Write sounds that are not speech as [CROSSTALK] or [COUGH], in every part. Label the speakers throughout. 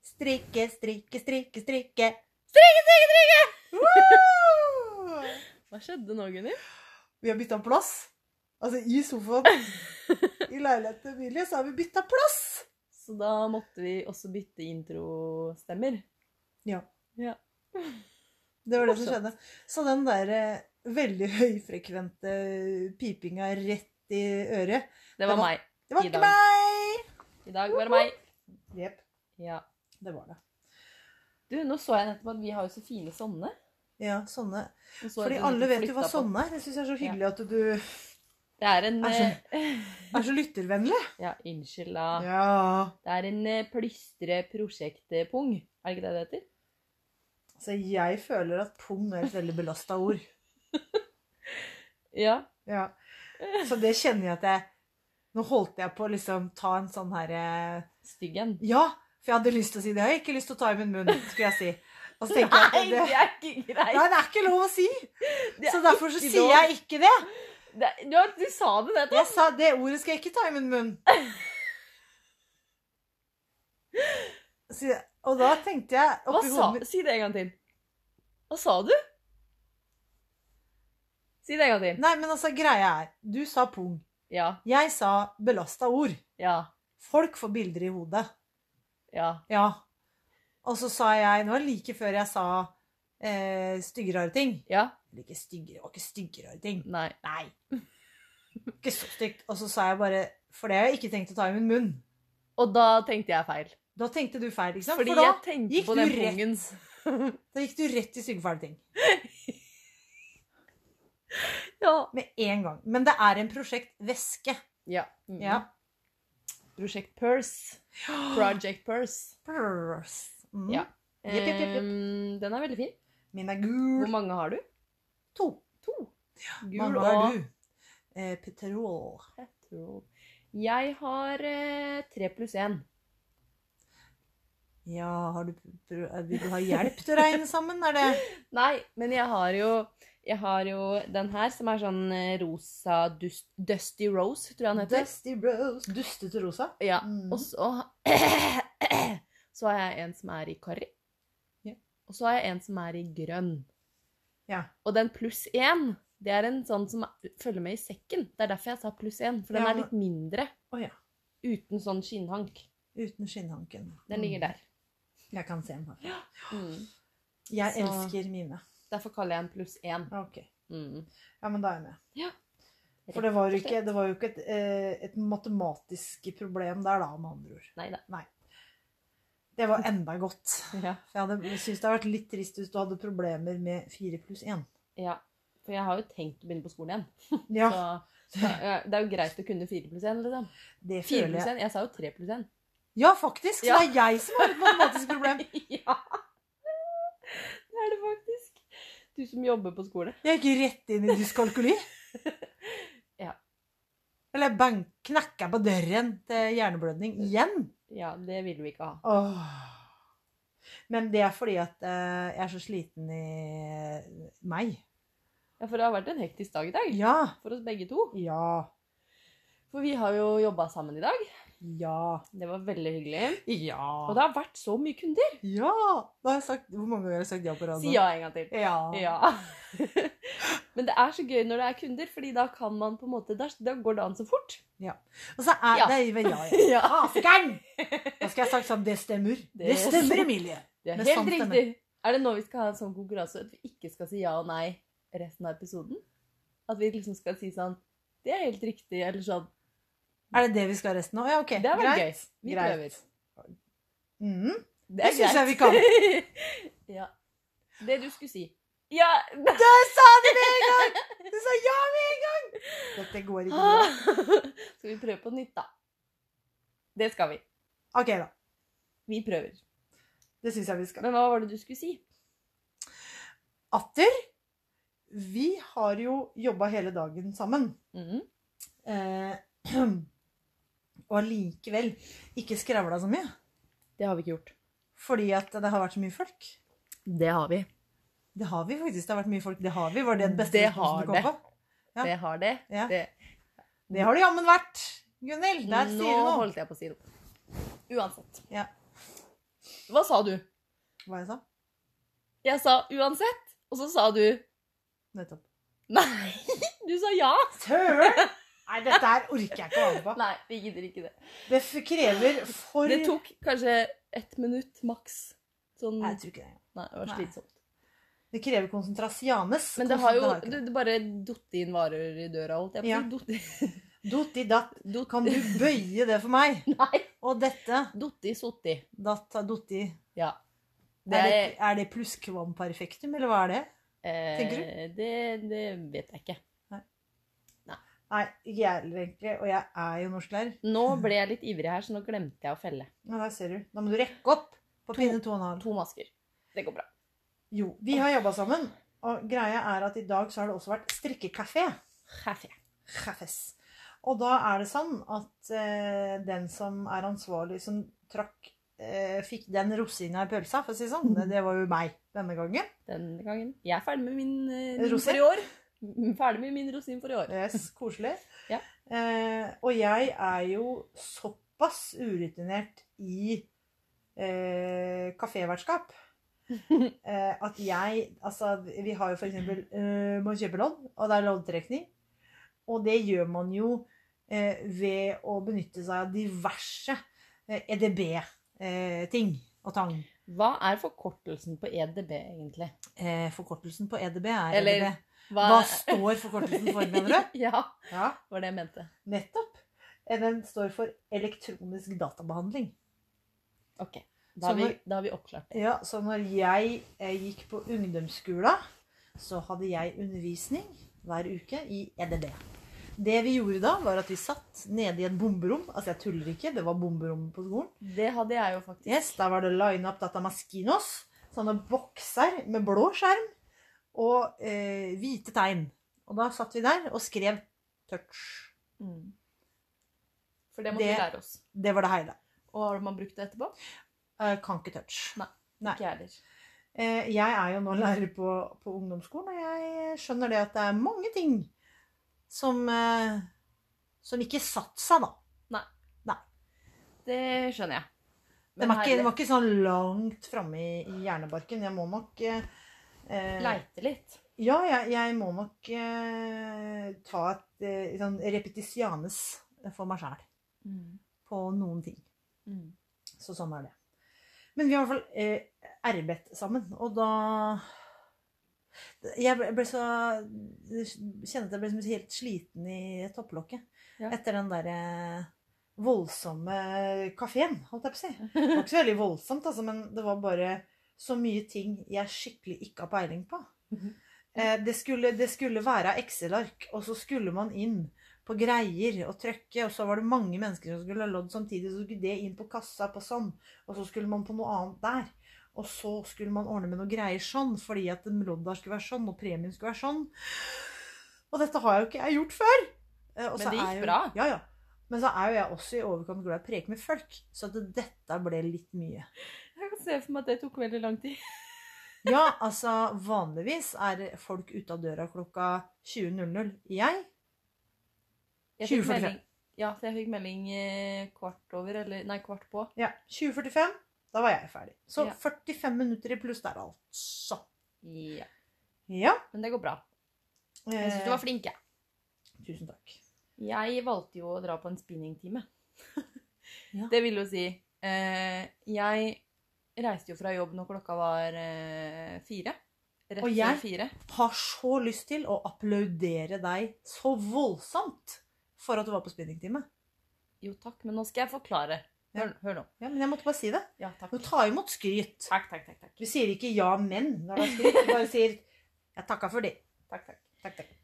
Speaker 1: Strikke, strikke, strikke, strikke. Strikke, strikke, strikke! Woo!
Speaker 2: Hva skjedde nå, Gunnhild?
Speaker 1: Vi har bytta plass. Altså, i sofaen i leiligheten til Emilie så har vi bytta plass.
Speaker 2: Så da måtte vi også bytte introstemmer.
Speaker 1: Det var det som
Speaker 2: Morsomt.
Speaker 1: skjedde. Så den der eh, veldig høyfrekvente pipinga rett i øret
Speaker 2: Det var
Speaker 1: Det var-
Speaker 2: meg.
Speaker 1: Det var
Speaker 2: I
Speaker 1: ikke
Speaker 2: dag.
Speaker 1: meg!
Speaker 2: I dag var det meg.
Speaker 1: Jepp.
Speaker 2: Ja.
Speaker 1: Det var det.
Speaker 2: Du, nå så jeg nettopp at vi har jo så fine sånne.
Speaker 1: Ja, sånne.
Speaker 2: Nå så jeg
Speaker 1: Fordi
Speaker 2: at du
Speaker 1: alle vet
Speaker 2: flytta
Speaker 1: jo hva
Speaker 2: på-
Speaker 1: sånne er. Jeg syns det er så hyggelig at du
Speaker 2: Det er en
Speaker 1: Er sånn.
Speaker 2: eh,
Speaker 1: er så lyttervennlig.
Speaker 2: Ja, unnskyld, da.
Speaker 1: Ja.
Speaker 2: Det er en eh, plystre prosjektpung. Er det ikke det det heter?
Speaker 1: Så jeg føler at pung er et veldig belasta ord.
Speaker 2: Ja.
Speaker 1: Ja. Så det kjenner jeg at jeg Nå holdt jeg på å liksom ta en sånn herre
Speaker 2: Stygg en.
Speaker 1: Ja! For jeg hadde lyst til å si det. Jeg har ikke lyst til å ta i min munn, skulle jeg si. Og så
Speaker 2: Nei,
Speaker 1: tenker jeg at
Speaker 2: det
Speaker 1: det,
Speaker 2: er ikke greit!
Speaker 1: Nei, det er ikke lov å si!
Speaker 2: Det er
Speaker 1: Så derfor så
Speaker 2: ikke
Speaker 1: sier
Speaker 2: lov.
Speaker 1: jeg ikke det.
Speaker 2: Det er, ja, du sa det nettopp!
Speaker 1: Jeg sa det ordet skal jeg ikke ta i min munn. Så, jeg- og da tenkte jeg
Speaker 2: Hva
Speaker 1: oppi
Speaker 2: sa
Speaker 1: hodet mitt
Speaker 2: Si det en gang til. Hva sa du? Si det en gang til.
Speaker 1: Nei, men altså, greia er Du sa pung.
Speaker 2: Ja.
Speaker 1: Jeg sa belasta ord.
Speaker 2: Ja.
Speaker 1: Folk får bilder i hodet.
Speaker 2: Ja.
Speaker 1: Ja. Og så sa jeg Det var like før jeg sa eh, stygge, rare ting.
Speaker 2: Ja.
Speaker 1: Eller ikke stygge, det var ikke stygge, rare ting.
Speaker 2: Nei.
Speaker 1: Nei. Ikke så stygt. Og så sa jeg bare For det har jeg ikke tenkt å ta i min munn.
Speaker 2: Og da tenkte jeg feil.
Speaker 1: Da tenkte du feil, ikke sant?
Speaker 2: Fordi
Speaker 1: For da,
Speaker 2: jeg tenkte
Speaker 1: gikk
Speaker 2: på
Speaker 1: du
Speaker 2: den
Speaker 1: rett.
Speaker 2: pungen.
Speaker 1: da gikk du rett i stygge, fæle ting.
Speaker 2: [LAUGHS] Ja.
Speaker 1: Med en gang. Men det er en prosjekt væske.
Speaker 2: ja. Mm.
Speaker 1: Ja.
Speaker 2: Prosjekt Purse. Project Purse.
Speaker 1: Purse. Mm.
Speaker 2: Mm. Ja.
Speaker 1: Jepp, jepp, jepp, jepp.
Speaker 2: Ehm, den er veldig fin.
Speaker 1: Min er
Speaker 2: Hvor
Speaker 1: gul.
Speaker 2: mange har du?
Speaker 1: To.
Speaker 2: To. Gul
Speaker 1: Mamma, har
Speaker 2: og
Speaker 1: du? Eh, petrol.
Speaker 2: petrol. Jeg har eh, tre pluss én.
Speaker 1: Ja, har du Vil du ha hjelp til å regne sammen, er det?
Speaker 2: Nei, men jeg har jo jeg har jo den her som er sånn eh, rosa dus- Dusty Rose, tror jeg den heter.
Speaker 1: Dusty Rose. Dustete rosa.
Speaker 2: Ja.
Speaker 1: Mm.
Speaker 2: Og så [CLEARS THROAT] Så har jeg en som er i karri.
Speaker 1: Ja.
Speaker 2: Og så har jeg en som er i grønn.
Speaker 1: Ja.
Speaker 2: Og den pluss én, det er en sånn som følger med i sekken. Det er derfor jeg sa pluss én, for den
Speaker 1: Ja,
Speaker 2: er litt mindre.
Speaker 1: Å, ja.
Speaker 2: Uten sånn skinnhank.
Speaker 1: Uten skinnhanken. Mm.
Speaker 2: Den ligger der.
Speaker 1: Jeg kan se den her.
Speaker 2: Mm.
Speaker 1: Jeg
Speaker 2: Så-
Speaker 1: elsker mine.
Speaker 2: Derfor kaller jeg den pluss én.
Speaker 1: Ok.
Speaker 2: Mm.
Speaker 1: Ja, men da er jeg med.
Speaker 2: Ja.
Speaker 1: For det var jo ikke, det var jo ikke et, eh, et matematisk problem der, da, med andre ord.
Speaker 2: Nei da.
Speaker 1: Det var enda godt.
Speaker 2: Ja.
Speaker 1: For Jeg, hadde- jeg syns det hadde vært litt trist hvis du hadde problemer med fire pluss én.
Speaker 2: ja. For jeg har jo tenkt å begynne på skolen igjen.
Speaker 1: Ja,
Speaker 2: Så, så ja, det er jo greit å kunne fire pluss én, liksom.
Speaker 1: det
Speaker 2: Fire
Speaker 1: føler
Speaker 2: pluss
Speaker 1: jeg.
Speaker 2: én? Jeg sa jo tre pluss én.
Speaker 1: Ja, faktisk! Så
Speaker 2: Ja.
Speaker 1: det er jeg som har et matematisk problem.
Speaker 2: [LAUGHS] Ja! Det er det faktisk. Du som jobber på skole.
Speaker 1: Jeg gikk rett inn i dyskalkuli.
Speaker 2: [LAUGHS] Ja.
Speaker 1: Eller bang, knakka på døren til hjerneblødning igjen.
Speaker 2: Ja, det vil vi ikke ha.
Speaker 1: Åh. Men det er fordi at eh, jeg er så sliten i meg.
Speaker 2: Ja, For det har vært en hektisk dag i dag
Speaker 1: Ja.
Speaker 2: for oss begge to.
Speaker 1: Ja.
Speaker 2: For vi har jo jobba sammen i dag.
Speaker 1: Ja.
Speaker 2: Det var veldig hyggelig.
Speaker 1: Ja.
Speaker 2: Og det har vært så mye kunder.
Speaker 1: ja. Da har jeg sagt, hvor mange ganger har jeg sagt ja på rad? nå?
Speaker 2: Si ja en gang til.
Speaker 1: Ja.
Speaker 2: Ja. [LAUGHS] Men det er så gøy når det er kunder, fordi da kan man på en måte Da, da går det an så fort.
Speaker 1: Og så er
Speaker 2: Ja.
Speaker 1: det ved ja, ja.
Speaker 2: [LAUGHS] Ja.
Speaker 1: Askeren! Da skal jeg ha sagt sånn, det stemmer. Det,
Speaker 2: Det
Speaker 1: stemmer, Emilie.
Speaker 2: Det er
Speaker 1: Men
Speaker 2: helt
Speaker 1: sant, det
Speaker 2: riktig. Er det nå vi skal ha en sånn konkurranse at vi ikke skal si ja og nei resten av episoden? At vi liksom skal si sånn Det er helt riktig, eller sånn.
Speaker 1: Er det det vi skal ha resten av? Ja, ok.
Speaker 2: Det er vel gøy.
Speaker 1: Greit.
Speaker 2: Vi
Speaker 1: Greit.
Speaker 2: prøver.
Speaker 1: Mhm.
Speaker 2: Det er
Speaker 1: Det synes jeg vi
Speaker 2: kan. [LAUGHS] ja. Det du skulle si. Ja
Speaker 1: Du sa det med en gang! Du sa ja med en gang! Dette går ikke
Speaker 2: Ah.
Speaker 1: bra.
Speaker 2: Skal vi prøve på nytt, da? Det skal vi.
Speaker 1: Ok, da.
Speaker 2: Vi prøver.
Speaker 1: Det syns jeg vi skal.
Speaker 2: Men hva var det du skulle si?
Speaker 1: Atter, vi har jo jobba hele dagen sammen.
Speaker 2: Mhm.
Speaker 1: Eh, [CLEARS THROAT] og allikevel ikke skravla så mye.
Speaker 2: Det har vi ikke gjort.
Speaker 1: Fordi at det har vært så mye folk.
Speaker 2: Det har vi.
Speaker 1: Det har vi faktisk. Det har vært mye folk. Det har vi. Var det den beste
Speaker 2: Det har
Speaker 1: responsen du kom
Speaker 2: det.
Speaker 1: på? Ja.
Speaker 2: Det har det.
Speaker 1: Ja.
Speaker 2: det.
Speaker 1: Det har det jammen vært. Gunhild, der sier
Speaker 2: Nå
Speaker 1: du noe.
Speaker 2: holdt jeg på å si noe. Uansett.
Speaker 1: Ja.
Speaker 2: Hva sa du?
Speaker 1: Hva jeg sa?
Speaker 2: Jeg sa uansett, og så sa du
Speaker 1: Nettopp.
Speaker 2: nei. Du sa ja.
Speaker 1: Søren! Nei, dette her orker jeg ikke å være med på.
Speaker 2: [LAUGHS] Nei, vi gidder ikke det.
Speaker 1: Det f- krever for
Speaker 2: Det tok kanskje ett minutt maks. Sånn
Speaker 1: Nei,
Speaker 2: Nei,
Speaker 1: jeg tror ikke det.
Speaker 2: det var
Speaker 1: Nei.
Speaker 2: slitsomt.
Speaker 1: Det krever konsentrasjanes.
Speaker 2: Men det har jo
Speaker 1: Konsentrasjon-
Speaker 2: det, det bare datt inn varer i døra, holdt jeg på
Speaker 1: Ja.
Speaker 2: å si. Dott-
Speaker 1: Dotti datt.
Speaker 2: dott-
Speaker 1: Kan du bøye det for meg?
Speaker 2: [LAUGHS] Nei.
Speaker 1: Og dette
Speaker 2: Dotti sotti.
Speaker 1: datt dotti.
Speaker 2: Ja. Det
Speaker 1: Er det,
Speaker 2: er,
Speaker 1: er det plusskvamperfektum, eller hva er det? tenker
Speaker 2: eh, det, det vet jeg ikke.
Speaker 1: Nei, ikke jeg heller, egentlig. Og jeg er jo norsklærer.
Speaker 2: Nå ble jeg litt ivrig her, så nå glemte jeg å felle.
Speaker 1: Ja, der ser du. Da må du rekke opp på pinne to og en halv.
Speaker 2: To masker. Det går bra.
Speaker 1: Jo, vi har jobba sammen. Og greia er at i dag så har det også vært strikkekafé.
Speaker 2: Kaffe.
Speaker 1: Kaffes. Og da er det sånn at eh, den som er ansvarlig, som trakk eh, Fikk den rosina i pølsa, for å si det sånn. Det var jo meg denne gangen.
Speaker 2: Denne gangen. Jeg er ferdig med min eh, rosin
Speaker 1: Rosin?
Speaker 2: for i år. Mm, Ferdig med min rosin for i år.
Speaker 1: Yes, koselig.
Speaker 2: [LAUGHS] Ja.
Speaker 1: Eh, og jeg er jo såpass urutinert i eh,
Speaker 2: [LAUGHS]
Speaker 1: kafévertskap eh, at jeg Altså, vi har jo for eksempel eh, Man kjøper lodd, og det er loddtrekning. Og det gjør man jo eh, ved å benytte seg av diverse eh, EDB-ting eh, og tang.
Speaker 2: Hva er forkortelsen på EDB, egentlig?
Speaker 1: Eh, forkortelsen på EDB er
Speaker 2: Eller-
Speaker 1: EDB. Hva står forkortelsen for,
Speaker 2: [LAUGHS]
Speaker 1: mener du?
Speaker 2: Ja,
Speaker 1: Ja.
Speaker 2: var det jeg mente.
Speaker 1: Nettopp. Eh, Den står for elektronisk databehandling.
Speaker 2: Ok. Da har vi,
Speaker 1: Sånn
Speaker 2: da har vi oppklart det.
Speaker 1: Ja, så når jeg eh, gikk på ungdomsskolen, så hadde jeg undervisning hver uke i EDB. Det vi gjorde da, var at vi satt nede i et bomberom. Altså, jeg tuller ikke, det var bomberom på skolen.
Speaker 2: Det hadde jeg jo faktisk.
Speaker 1: Yes, der var det line up datamaskinos. Sånne bokser med blå skjerm og eh, hvite tegn. Og da satt vi der og skrev touch.
Speaker 2: Mm. For det måtte
Speaker 1: Det-
Speaker 2: vi lære oss.
Speaker 1: Det var det hele.
Speaker 2: Og har man brukt det etterpå?
Speaker 1: Eh, kan ikke touch. Nei.
Speaker 2: Ikke jeg heller.
Speaker 1: Eh, Jeg er jo nå lærer på, på ungdomsskolen, og jeg skjønner det at det er mange ting som, eh, som ikke satt seg, da.
Speaker 2: Det skjønner jeg.
Speaker 1: Det var ikke, det var ikke sånn langt framme i, i hjernebarken. Jeg må nok eh, eh,
Speaker 2: Leite litt.
Speaker 1: Ja, jeg, jeg må nok eh, ta et eh, sånn repetisianes for meg sjæl på noen ting.
Speaker 2: Mm.
Speaker 1: Så sånn er det. Men vi har i hvert fall eh, arbeidet sammen, og da Jeg ble, ble så Kjente at jeg ble som helt sliten i topplokket
Speaker 2: Ja.
Speaker 1: etter den derre voldsomme kafeen, holdt jeg på å si. Det var ikke så veldig voldsomt, altså, men det var bare så mye ting jeg skikkelig ikke har peiling på.
Speaker 2: Mhm.
Speaker 1: Eh, det, skulle, det skulle være Excel-ark, og så skulle man inn på greier og trøkke, og så var det mange mennesker som skulle ha lodd samtidig, så skulle det inn på kassa på sånn, og så skulle man på noe annet der. Og så skulle man ordne med noe greier sånn, fordi at den lodda skulle være sånn, og premien skulle være sånn. Og dette har jo ikke jeg gjort før! Eh, og
Speaker 2: Men
Speaker 1: så
Speaker 2: det gikk
Speaker 1: er jo,
Speaker 2: bra.
Speaker 1: Ja, ja. Men så er jo jeg også i overkant glad i å preke med folk, så at dette ble litt mye.
Speaker 2: Jeg kan se for meg at det tok veldig lang tid.
Speaker 1: Ja, altså vanligvis er folk ute av døra klokka 20.00. Jeg
Speaker 2: Jeg fikk
Speaker 1: 20.45.
Speaker 2: melding, ja, for jeg fikk melding eh, kvart over, eller nei, kvart på.
Speaker 1: Ja, 20.45. Da var jeg ferdig. Så
Speaker 2: Ja.
Speaker 1: 45 minutter i pluss der, altså.
Speaker 2: Ja.
Speaker 1: Ja.
Speaker 2: Men det går bra. Jeg syns du var flink, jeg.
Speaker 1: Eh, Tusen takk.
Speaker 2: Jeg valgte jo å dra på en spinningtime.
Speaker 1: Ja.
Speaker 2: [LAUGHS] Det vil jo si eh, Jeg reiste jo fra jobb når klokka var eh, fire. Rett
Speaker 1: Og
Speaker 2: før
Speaker 1: jeg-
Speaker 2: fire.
Speaker 1: Har så lyst til å applaudere deg så voldsomt for at du var på spinningtime.
Speaker 2: Jo takk, men nå skal jeg forklare.
Speaker 1: Ja.
Speaker 2: Hør, hør nå.
Speaker 1: Ja, men jeg måtte bare si det.
Speaker 2: Ja, takk.
Speaker 1: Du tar imot skryt.
Speaker 2: Takk, takk, takk. takk.
Speaker 1: Du sier ikke ja, men når det er skryt. Du bare sier 'jeg takka for det'.
Speaker 2: takk, takk.
Speaker 1: Takk, takk.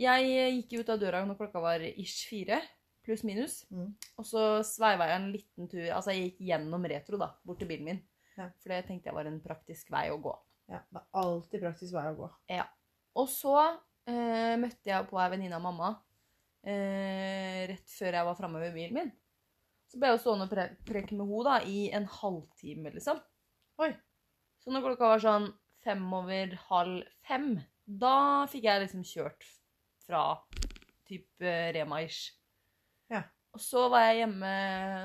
Speaker 2: Jeg eh, gikk jo ut av døra når klokka var ish fire, pluss minus.
Speaker 1: Mm.
Speaker 2: Og så sveiva jeg en liten tur Altså, jeg gikk gjennom retro, da, bort til bilen min.
Speaker 1: Ja.
Speaker 2: For det tenkte jeg var en praktisk vei å gå.
Speaker 1: Ja, det er alltid praktisk vei å gå.
Speaker 2: Og så eh, møtte jeg på ei venninne av mamma eh, rett før jeg var framme ved bilen min. Så ble jeg jo stående og pre preke med henne da, i en halvtime, liksom.
Speaker 1: Oi.
Speaker 2: Så når klokka var sånn fem over halv fem, da fikk jeg liksom kjørt fra type Rema-ish.
Speaker 1: Ja.
Speaker 2: eh, Og så var jeg hjemme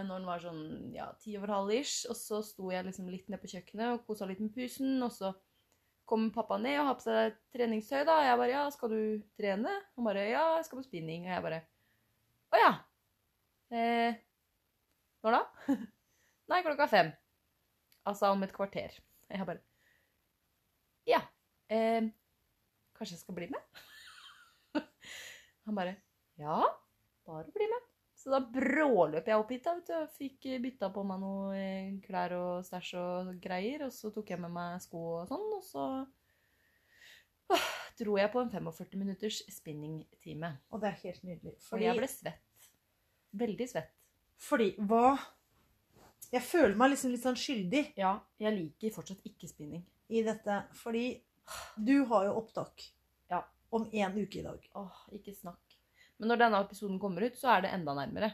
Speaker 2: når den var sånn ja, ti over halv ish, og så sto jeg liksom litt nede på kjøkkenet og kosa litt med pusen, og så kom pappa ned og har på seg treningstøy, da, og jeg bare 'Ja, skal du trene?' Han bare 'Ja, jeg skal på spinning', og jeg bare 'Å ja'. Eh, når da? [LAUGHS] Nei, klokka fem. Altså om et kvarter. Jeg bare Ja. Eh, kanskje jeg skal bli med? [LAUGHS] Han bare Ja, bare bli med. Så da bråløp jeg opp hit da, vet du, og fikk eh, bytta på meg noe eh, klær og stæsj og greier. Og så tok jeg med meg sko og sånn, og så åh, dro jeg på en 45 minutters spinningtime.
Speaker 1: Og det er helt nydelig.
Speaker 2: Og jeg ble svett. Veldig svett.
Speaker 1: Fordi hva Jeg føler meg liksom litt sånn skyldig
Speaker 2: Ja, jeg liker fortsatt ikke spinning.
Speaker 1: i dette, fordi du har jo opptak
Speaker 2: Ja.
Speaker 1: om én uke i dag.
Speaker 2: Åh, ikke snakk. Men når denne episoden kommer ut, så er det enda nærmere.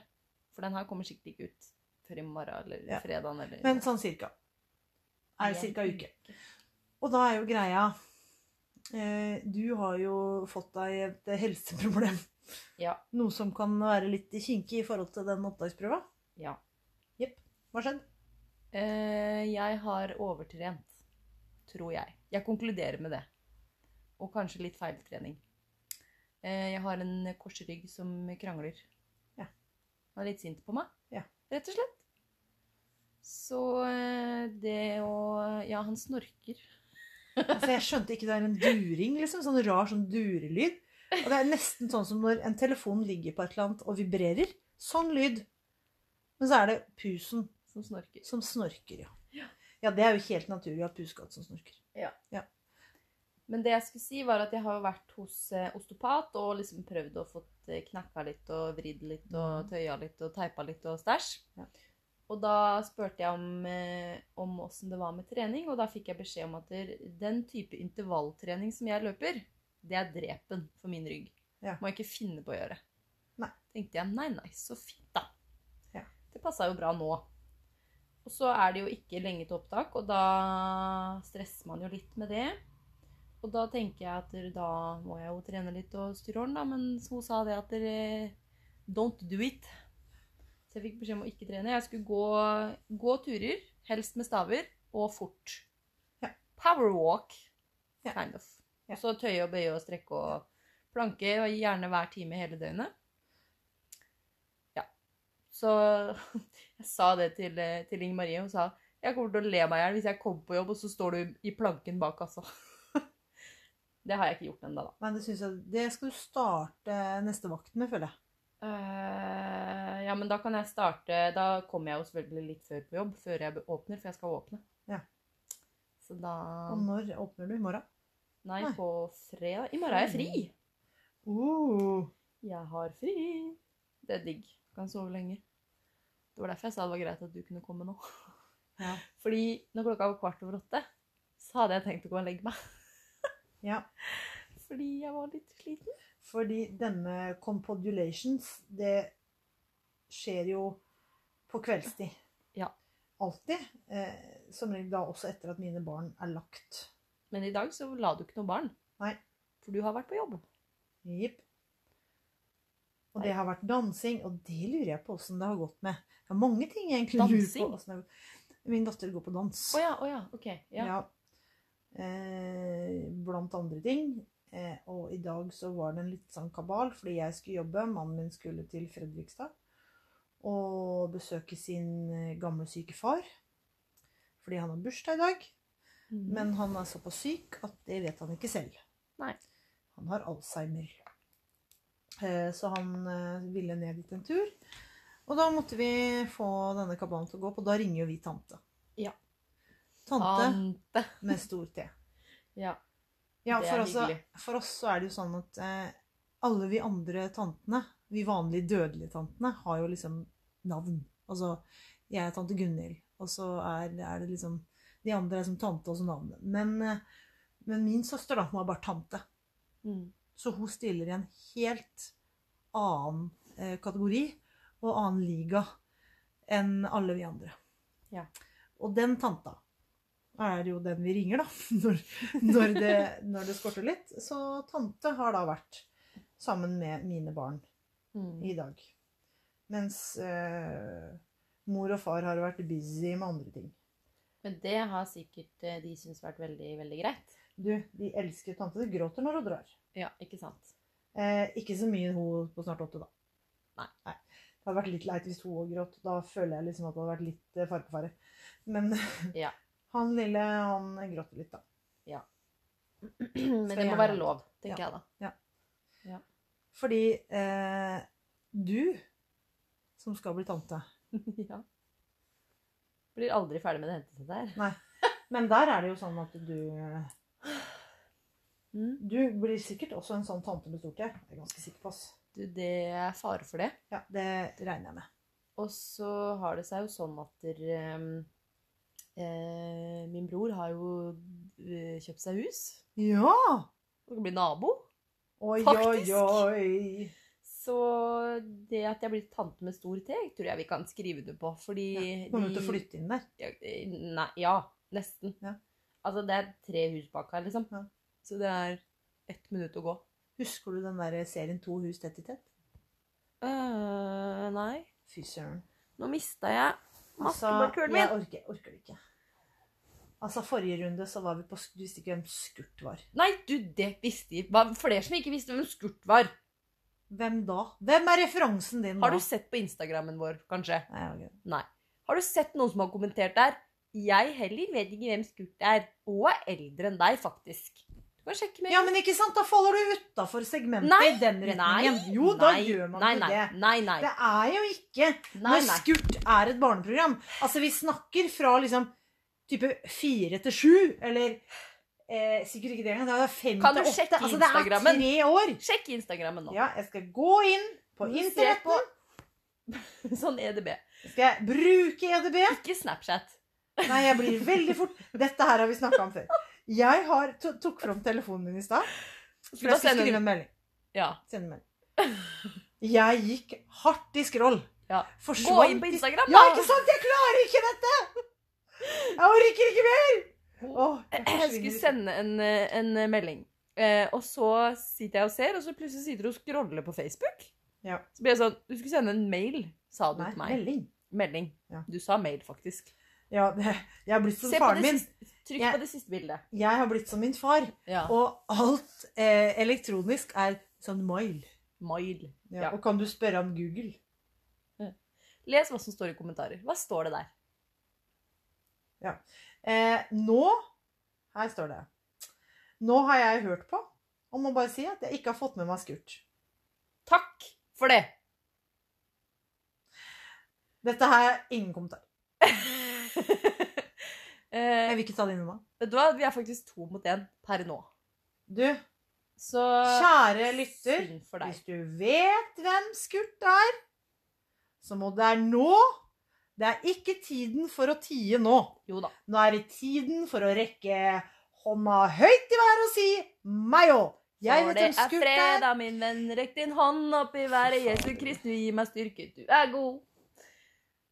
Speaker 2: For den her kommer sikkert ikke ut før i morgen eller
Speaker 1: Ja.
Speaker 2: fredagen eller
Speaker 1: Men sånn cirka. Er det
Speaker 2: Ja.
Speaker 1: cirka en uke. Og da er jo greia eh, Du har jo fått deg et helseproblem.
Speaker 2: Ja.
Speaker 1: Noe som kan være litt kinkig i forhold til den opptaksprøva.
Speaker 2: Ja.
Speaker 1: Jepp. Hva skjedde?
Speaker 2: Eh, jeg har overtrent, tror jeg. Jeg konkluderer med det. Og kanskje litt feiltrening. Eh, jeg har en korsrygg som krangler.
Speaker 1: Ja.
Speaker 2: Han er litt sint på meg,
Speaker 1: Ja.
Speaker 2: rett og slett. Så eh, det å Ja, han snorker.
Speaker 1: Altså, jeg skjønte ikke det er en during, liksom. Sånn rar sånn durelyd. Og det er nesten sånn som når en telefon ligger på et eller annet og vibrerer. Sånn lyd. Men så er det pusen
Speaker 2: Som snorker.
Speaker 1: som snorker, ja. Ja, det er jo helt naturlig at pusekatt som snorker.
Speaker 2: Men det jeg skulle si var at jeg har jo vært hos eh, osteopat og liksom prøvd å få knakka litt og vridd litt og
Speaker 1: Mhm.
Speaker 2: tøya litt og teipa litt og stæsj.
Speaker 1: Ja.
Speaker 2: Og da spurte jeg om, eh, om åssen det var med trening, og da fikk jeg beskjed om at der- den type intervalltrening som jeg løper, det er drepen for min rygg.
Speaker 1: Ja.
Speaker 2: Må jeg ikke finne på å gjøre.
Speaker 1: Nei.
Speaker 2: Tenkte jeg, nei nei, så fint da.
Speaker 1: Ja.
Speaker 2: Det passa jo bra nå. Og så er det jo ikke lenge til opptak, og da stresser man jo litt med det. Og da tenker jeg at da må jeg jo trene litt og styre orden, da, men hun sa det at dere Don't do it. Så jeg fikk beskjed om å ikke trene. Jeg skulle gå, gå turer, helst med staver, og fort.
Speaker 1: Ja.
Speaker 2: Power walk,
Speaker 1: Ja.
Speaker 2: kind of.
Speaker 1: Ja.
Speaker 2: Så tøye og bøye og strekke og planke, og gjerne hver time hele døgnet. Ja. Så [LAUGHS] jeg sa det til, til Inger Marie, hun sa jeg kommer til å le meg i hjel hvis jeg kommer på jobb, og så står du i planken bak, altså. Det har jeg ikke gjort ennå, da.
Speaker 1: Men det synes jeg Det skal du starte neste vakt med, føler jeg.
Speaker 2: Eh, ja, men da kan jeg starte Da kommer jeg jo selvfølgelig litt før på jobb, før jeg åpner, for jeg skal åpne.
Speaker 1: Ja.
Speaker 2: Så da
Speaker 1: Og når åpner du? I morgen?
Speaker 2: Nei,
Speaker 1: nei.
Speaker 2: på fredag. I morgen er jeg fri!
Speaker 1: Uh,
Speaker 2: Jeg har fri! Det er digg. Kan sove lenge. Det var derfor jeg sa det var greit at du kunne komme nå.
Speaker 1: ja.
Speaker 2: [LAUGHS] Fordi når klokka var kvart over åtte, så hadde jeg tenkt å gå og legge meg. [LAUGHS]
Speaker 1: ja.
Speaker 2: Fordi jeg var litt sliten.
Speaker 1: Fordi denne compodulations, det skjer jo på kveldstid.
Speaker 2: Ja.
Speaker 1: Alltid. Eh, som regel da også etter at mine barn er lagt.
Speaker 2: Men i dag så la du ikke noe barn.
Speaker 1: Nei.
Speaker 2: For du har vært på jobb.
Speaker 1: Jipp. Og
Speaker 2: Nei.
Speaker 1: det har vært dansing, og det lurer jeg på åssen det har gått med. Det er mange ting jeg egentlig
Speaker 2: Dansing?
Speaker 1: lurer på. åssen det har gått. Min datter går på dans.
Speaker 2: Å ja, å ja. Ok. Ja.
Speaker 1: Ja. Eh, blant andre ting. Eh, og i dag så var det en litt sånn kabal, fordi jeg skulle jobbe. Mannen min skulle til Fredrikstad og besøke sin eh, gamle syke far. Fordi han har bursdag i dag.
Speaker 2: Mhm.
Speaker 1: Men han er såpass syk at det vet han ikke selv.
Speaker 2: Nei.
Speaker 1: Han har Alzheimer. Eh, Så han eh, ville ned dit en tur. Og da måtte vi få denne kabalen til å gå opp, og da ringer jo vi tante.
Speaker 2: Ja.
Speaker 1: Tante
Speaker 2: Ante.
Speaker 1: med stor T.
Speaker 2: Ja.
Speaker 1: Ja,
Speaker 2: Det er
Speaker 1: for, altså,
Speaker 2: hyggelig.
Speaker 1: for oss så er det jo sånn at eh, alle vi andre tantene, vi vanlige dødelige tantene, har jo liksom navn. Altså, jeg er tante Gunhild, og så er, er det liksom De andre er som tante og så navnet. Men, eh, men min søster, da, hun er bare tante.
Speaker 2: Mm.
Speaker 1: Så hun stiller i en helt annen eh, kategori og annen liga enn alle vi andre.
Speaker 2: Ja.
Speaker 1: Og den tanta er jo den vi ringer, da, [LAUGHS] når, når, det, når det skorter litt. Så tante har da vært sammen med mine barn
Speaker 2: Mm.
Speaker 1: i dag. Mens eh, mor og far har vært busy med andre ting.
Speaker 2: Men det har sikkert eh, de syntes vært veldig, veldig greit.
Speaker 1: Du, de elsker tante. De gråter når hun drar.
Speaker 2: Ja, ikke
Speaker 1: [CLEARS THROAT]
Speaker 2: sant?
Speaker 1: Eh, ikke så mye hun på snart åtte, da.
Speaker 2: Nei.
Speaker 1: Det hadde vært litt leit hvis hun òg gråt. Da føler jeg liksom at det hadde vært litt eh, fare på fare. Men [LAUGHS]
Speaker 2: Ja.
Speaker 1: han lille, han gråter litt, da.
Speaker 2: Men det må være lov, tenker jeg da.
Speaker 1: Fordi eh, du, som skal bli tante
Speaker 2: [LAUGHS] ja. Blir aldri ferdig med det hendelsen der.
Speaker 1: Men der er det jo sånn at du
Speaker 2: Mm.
Speaker 1: Du blir sikkert også en sånn tante med stort T. Det er jeg ganske sikker på. ass.
Speaker 2: Du, det er fare for det.
Speaker 1: Ja, det regner jeg med.
Speaker 2: Og så har det seg jo sånn at der, ehm, eh, min bror har jo eh, kjøpt seg hus.
Speaker 1: Ja!
Speaker 2: Og kan bli nabo.
Speaker 1: Oi,
Speaker 2: Faktisk.
Speaker 1: oi, oi.
Speaker 2: Så det at jeg blir tante med stor T, tror jeg vi kan skrive det på. Fordi
Speaker 1: Kommer hun til å flytte inn der?
Speaker 2: Ja, eh, Nei, ja, nesten.
Speaker 1: Ja.
Speaker 2: Altså, det er tre hus bak her, liksom.
Speaker 1: Ja.
Speaker 2: Så det er ett minutt å gå.
Speaker 1: Husker du den der serien To hus tett i tett?
Speaker 2: eh nei.
Speaker 1: Fy søren.
Speaker 2: Nå mista jeg maskebakkulen min.
Speaker 1: Altså, jeg orker, jeg orker det ikke. Altså, forrige runde så var vi på sk- Du visste ikke hvem Skurt var.
Speaker 2: Nei, du, det visste jeg. Hva- For dere som ikke visste hvem Skurt var.
Speaker 1: Hvem da? Hvem er referansen din
Speaker 2: Har
Speaker 1: nå?
Speaker 2: du sett på Instagrammen vår, kanskje?
Speaker 1: Nei, jeg har ikke det.
Speaker 2: Nei. Har du sett noen som har kommentert der? Jeg heller vet ikke hvem Skurt er, og er eldre enn deg, faktisk. Du kan sjekke med
Speaker 1: Ja, men ikke sant? Da faller du utafor segmentet i
Speaker 2: Nei,
Speaker 1: den
Speaker 2: Nei,
Speaker 1: retningen. jo, da
Speaker 2: nei,
Speaker 1: gjør man
Speaker 2: nei,
Speaker 1: ikke
Speaker 2: nei,
Speaker 1: det.
Speaker 2: Nei, nei,
Speaker 1: Det er jo ikke
Speaker 2: nei,
Speaker 1: Når
Speaker 2: nei.
Speaker 1: Skurt er et barneprogram Altså, vi snakker fra liksom type fire til sju, eller eh, sikkert ikke det engang. Det er fem
Speaker 2: Kan du
Speaker 1: til åtte.
Speaker 2: sjekke
Speaker 1: Altså, det er
Speaker 2: Instagrammen?
Speaker 1: tre år.
Speaker 2: Sjekk Instagrammen nå.
Speaker 1: Ja, jeg skal gå inn på
Speaker 2: Du ser
Speaker 1: internett.
Speaker 2: på- Sånn EDB.
Speaker 1: Skal jeg bruke EDB?
Speaker 2: Ikke Snapchat.
Speaker 1: Nei, jeg blir veldig fort Dette her har vi snakka om før. Jeg har to tok fram telefonen min i stad. For jeg
Speaker 2: Skal
Speaker 1: skulle
Speaker 2: du sende
Speaker 1: skrive
Speaker 2: en
Speaker 1: en melding.
Speaker 2: Ja.
Speaker 1: Sende en melding. Jeg gikk hardt i skroll.
Speaker 2: Ja. Gå
Speaker 1: Forsvant
Speaker 2: inn på
Speaker 1: i-
Speaker 2: Instagram,
Speaker 1: Ja,
Speaker 2: da!
Speaker 1: ikke sant? Jeg klarer ikke dette! Jeg orker ikke mer! Åh, jeg
Speaker 2: Jeg skulle sende en, eh, en eh, melding. Eh, og så sitter jeg og ser, og så plutselig sitter du og scroller på Facebook.
Speaker 1: Ja.
Speaker 2: Så blir jeg sånn Du skulle sende en mail, sa du
Speaker 1: Nei,
Speaker 2: til meg.
Speaker 1: melding.
Speaker 2: Melding.
Speaker 1: Ja.
Speaker 2: Du sa mail, faktisk.
Speaker 1: Ja, det, jeg har blitt som
Speaker 2: Se på
Speaker 1: faren
Speaker 2: det
Speaker 1: min.
Speaker 2: siste, trykk
Speaker 1: Jeg-
Speaker 2: på det siste bildet.
Speaker 1: Jeg har blitt som min far.
Speaker 2: Ja.
Speaker 1: Og alt eh, elektronisk er sånn mail.
Speaker 2: Mail.
Speaker 1: Ja,
Speaker 2: Ja.
Speaker 1: Og kan du spørre om Google?
Speaker 2: Les hva som står i kommentarer. Hva står det der?
Speaker 1: Eh, nå Her står det. Nå har jeg hørt på, og må bare si at jeg ikke har fått med meg Skurt.
Speaker 2: Takk for det! [LAUGHS]
Speaker 1: Dette her er ingen kommentar.
Speaker 2: eh,
Speaker 1: Jeg vil ikke ta det inn i meg.
Speaker 2: vet du hva? Vi er faktisk to mot én per nå.
Speaker 1: Du,
Speaker 2: Så
Speaker 1: kjære lytter.
Speaker 2: synd for deg.
Speaker 1: Hvis du vet hvem Skurt er, så må det er nå. Det er ikke tiden for å tie nå.
Speaker 2: Jo da.
Speaker 1: Nå er det tiden for å rekke hånda høyt i været og si meg òg. Jeg
Speaker 2: For
Speaker 1: vet
Speaker 2: det
Speaker 1: hvem
Speaker 2: er
Speaker 1: Skurt er.
Speaker 2: fredag, min venn. Rekk din hånd opp i været. Jesu Krist, du gir meg styrke. Du er god.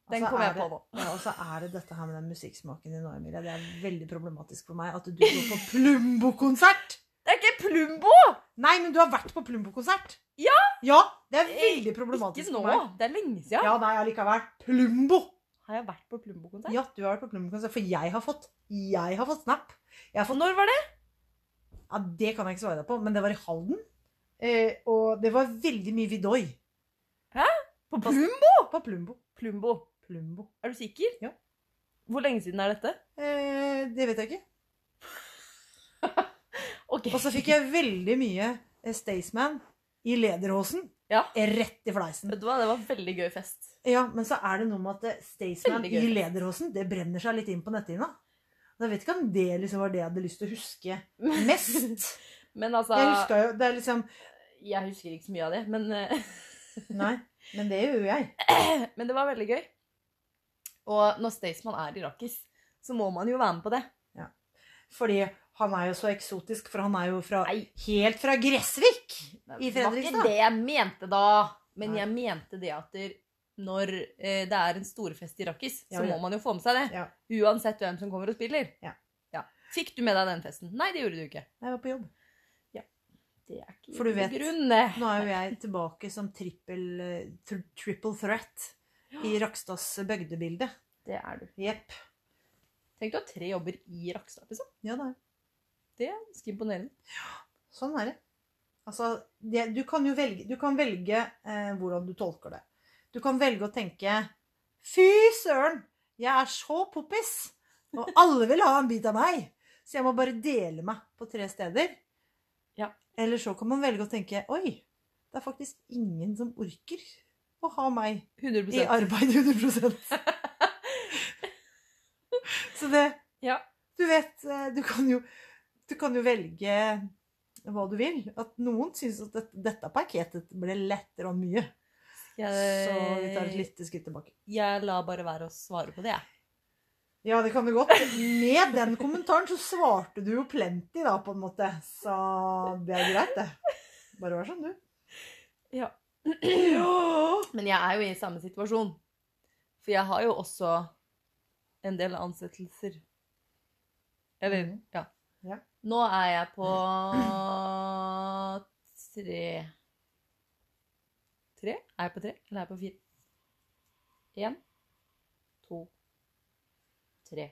Speaker 2: Den
Speaker 1: Altså,
Speaker 2: kom jeg
Speaker 1: er det-
Speaker 2: på nå.
Speaker 1: [LAUGHS] Ja, og så er det dette her med den musikksmaken din nå, Emilie. Det er veldig problematisk for meg at du går på Plumbo-konsert.
Speaker 2: Det er ikke Plumbo!
Speaker 1: Nei, men du har vært på Plumbo-konsert.
Speaker 2: Ja!
Speaker 1: Ja, Det er
Speaker 2: Eh,
Speaker 1: veldig problematisk
Speaker 2: Ikke nå.
Speaker 1: for meg.
Speaker 2: Det er lenge siden.
Speaker 1: Ja, nei, allikevel. Plumbo!
Speaker 2: Har jeg vært på Plumbo-konsert?
Speaker 1: Ja, du har vært på Plumbo-konsert. For jeg har fått Jeg har fått snap. Jeg har fått,
Speaker 2: Når var det?
Speaker 1: ja, Det kan jeg ikke svare deg på, men det var i Halden. Eh, og det var veldig mye Vidoi
Speaker 2: På
Speaker 1: Plumbo? på Plumbo.
Speaker 2: Plumbo.
Speaker 1: Plumbo.
Speaker 2: Er du sikker?
Speaker 1: Ja.
Speaker 2: Hvor lenge siden er dette?
Speaker 1: Eh, det vet jeg ikke.
Speaker 2: Ok.
Speaker 1: Og så fikk jeg veldig mye eh, Staysman i lederhosen.
Speaker 2: Ja.
Speaker 1: Rett i fleisen.
Speaker 2: [LAUGHS] Vet du hva, det var veldig gøy fest.
Speaker 1: Ja, men så er det noe med at eh, Staysman
Speaker 2: Veldig
Speaker 1: i
Speaker 2: gøy.
Speaker 1: lederhosen, det brenner seg litt inn på netthinna. Og Jeg vet ikke om det liksom var det jeg hadde lyst til å huske mest.
Speaker 2: [LAUGHS] Men altså
Speaker 1: Jeg huska jo Det er liksom
Speaker 2: Jeg husker ikke så mye av det, men, [LAUGHS] eh,
Speaker 1: Nei, men det gjør jo jeg.
Speaker 2: men det var veldig gøy. Og når Staysman er irakis, så må man jo være med på det.
Speaker 1: Fordi han er jo så eksotisk, for han er jo fra
Speaker 2: Nei.
Speaker 1: Helt fra Gressvik! I
Speaker 2: Det
Speaker 1: Fredrikstad?
Speaker 2: var ikke det jeg mente da. Men
Speaker 1: Nei.
Speaker 2: jeg mente det at der- når eh, det er en storfest i Rakkis,
Speaker 1: Ja,
Speaker 2: så
Speaker 1: ja.
Speaker 2: må man jo få med seg det.
Speaker 1: Ja.
Speaker 2: Uansett hvem som kommer og spiller.
Speaker 1: Ja.
Speaker 2: Fikk du med deg den festen? Nei, det gjorde du ikke.
Speaker 1: Jeg var på jobb.
Speaker 2: Ja. Det er ikke
Speaker 1: For du vet-
Speaker 2: grunn, det.
Speaker 1: Nå er jo jeg tilbake som trippel, tr triple threat i Rakstads bygdebilde.
Speaker 2: Det er du.
Speaker 1: Jepp.
Speaker 2: Tenk du har tre jobber i Rakstad, liksom.
Speaker 1: Ja da.
Speaker 2: Det er ganske imponerende.
Speaker 1: Sånn er det. Altså, det, du kan jo velge, du kan velge eh, hvordan du tolker det. Du kan velge å tenke Fy søren! Jeg er så poppis! Og alle vil ha en bit av meg! Så jeg må bare dele meg på tre steder.
Speaker 2: Ja.
Speaker 1: Eller så kan man velge å tenke Oi, det er faktisk ingen som orker å ha meg
Speaker 2: 100
Speaker 1: i arbeid 100
Speaker 2: [LAUGHS]
Speaker 1: Så det
Speaker 2: Ja.
Speaker 1: Du vet, eh, du kan jo, du kan jo velge hva du vil. At noen syns at dette, dette paketet ble lettere og mye. Så vi tar et
Speaker 2: Jeg,
Speaker 1: lite skritt tilbake.
Speaker 2: jeg lar bare være å svare på det, jeg.
Speaker 1: Ja, det kan du godt. Med den kommentaren så svarte du jo plenty, da, på en måte. Så det er greit, det. Bare vær som du.
Speaker 2: Ja.
Speaker 1: Ja.
Speaker 2: Men jeg er jo i samme situasjon. For jeg har jo også en del ansettelser. Eller
Speaker 1: Mhm.
Speaker 2: ja.
Speaker 1: Ja.
Speaker 2: Nå er jeg på tre Tre? Er jeg på tre, eller er jeg på fire? Én, to, tre.